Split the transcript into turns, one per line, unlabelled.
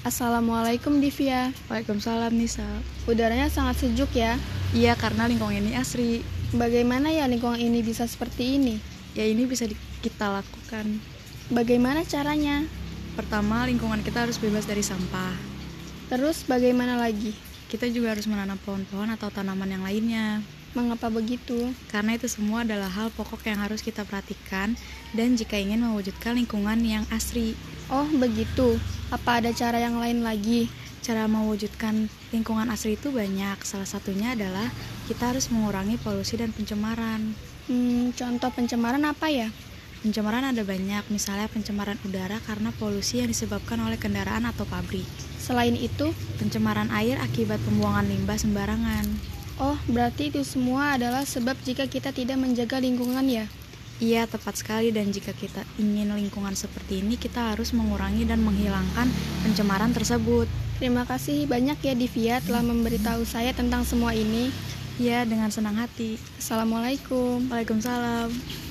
Assalamualaikum Divya.
Waalaikumsalam Nisa.
Udaranya sangat sejuk ya.
Iya karena lingkungan ini asri.
Bagaimana ya lingkungan ini bisa seperti ini?
Ya ini bisa di- kita lakukan.
Bagaimana caranya?
Pertama lingkungan kita harus bebas dari sampah.
Terus bagaimana lagi?
Kita juga harus menanam pohon-pohon atau tanaman yang lainnya.
Mengapa begitu?
Karena itu semua adalah hal pokok yang harus kita perhatikan dan jika ingin mewujudkan lingkungan yang asri.
Oh, begitu. Apa ada cara yang lain lagi?
Cara mewujudkan lingkungan asri itu banyak. Salah satunya adalah kita harus mengurangi polusi dan pencemaran.
Hmm, contoh pencemaran apa ya?
Pencemaran ada banyak, misalnya pencemaran udara karena polusi yang disebabkan oleh kendaraan atau pabrik.
Selain itu,
Pencemaran air akibat pembuangan limbah sembarangan.
oh, berarti itu semua adalah sebab jika kita tidak menjaga lingkungan ya.
Iya, tepat sekali dan jika kita ingin lingkungan seperti ini, kita harus mengurangi dan menghilangkan pencemaran tersebut.
Terima kasih banyak ya Divya telah memberitahu saya tentang semua ini.
Ya, Iya, dengan senang hati.
Assalamualaikum.
Waalaikumsalam.